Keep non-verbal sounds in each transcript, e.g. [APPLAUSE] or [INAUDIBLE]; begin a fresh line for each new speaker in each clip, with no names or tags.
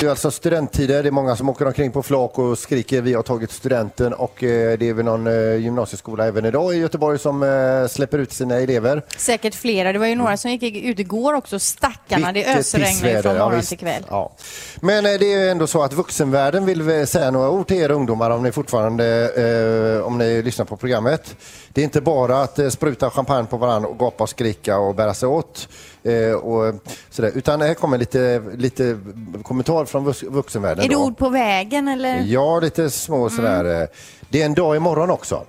Det är ju alltså studenttider, det är många som åker omkring på flak och skriker vi har tagit studenten och eh, det är väl någon eh, gymnasieskola även idag i Göteborg som eh, släpper ut sina elever.
Säkert flera. Det var ju några som gick ut igår också, stackarna. Det
Mm. Vilket
ösregnar ju
pissväder.
från
Ja,
morgon
visst.
till kväll.
Ja. Men eh, det är ju ändå så att vuxenvärlden vill väl säga några ord till er ungdomar om ni fortfarande eh, om ni lyssnar på programmet. Det är inte bara att eh, spruta champagne på varandra och gapa och skrika och bära sig åt. Eh, och sådär. Utan här kommer lite, lite kommentar från vux- vuxenvärlden.
Är det
då.
ord på vägen eller?
Ja, lite små
Mm.
sådär. eh, Det är en dag imorgon också.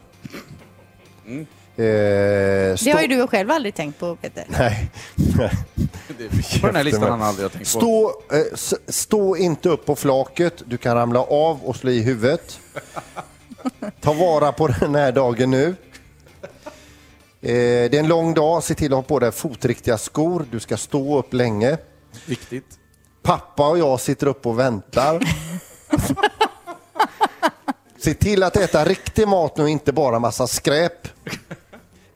Eh,
Det
stå-
har ju du själv aldrig tänkt på, Peter.
[LAUGHS] Nej.
[LAUGHS] På den här listan han aldrig har tänkt på.
Stå, eh, s- stå inte upp på flaket, du kan ramla av och slå i
[LAUGHS]
huvudet. Ta vara på den här dagen nu. Eh, det är en lång dag, se till att ha på dig fotriktiga skor, du ska stå upp länge.
Viktigt.
Pappa och jag sitter upp och väntar. Se till att äta riktig mat nu, inte bara massa skräp.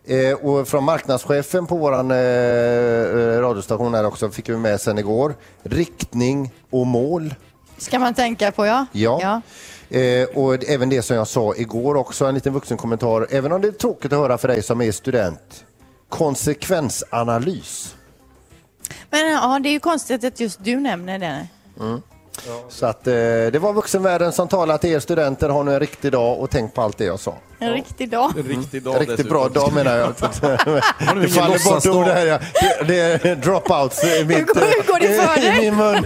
Eh, och från marknadschefen på våran eh, eh, radiostation här också fick vi med sen igår. Riktning och mål.
Ska man tänka på, ja.
Ja. Eh, och även det som jag sa igår också, en liten vuxenkommentar. Även om det är tråkigt att höra för dig som är student. Konsekvensanalys.
Men ja, det är ju konstigt att just du nämner det.
Så att eh, det var vuxenvärlden som talade till er studenter. Ha nu en riktig dag och tänk på allt det jag sa.
En riktig dag.
En riktig dag
En riktigt bra dag menar
[LAUGHS]
jag.
Har du
Det
ingen
faller bort
låtsasdag?
ord här. ja. Det, det är dropouts i, mitt, eh,
går- hur går det för
i
dig?
min mun.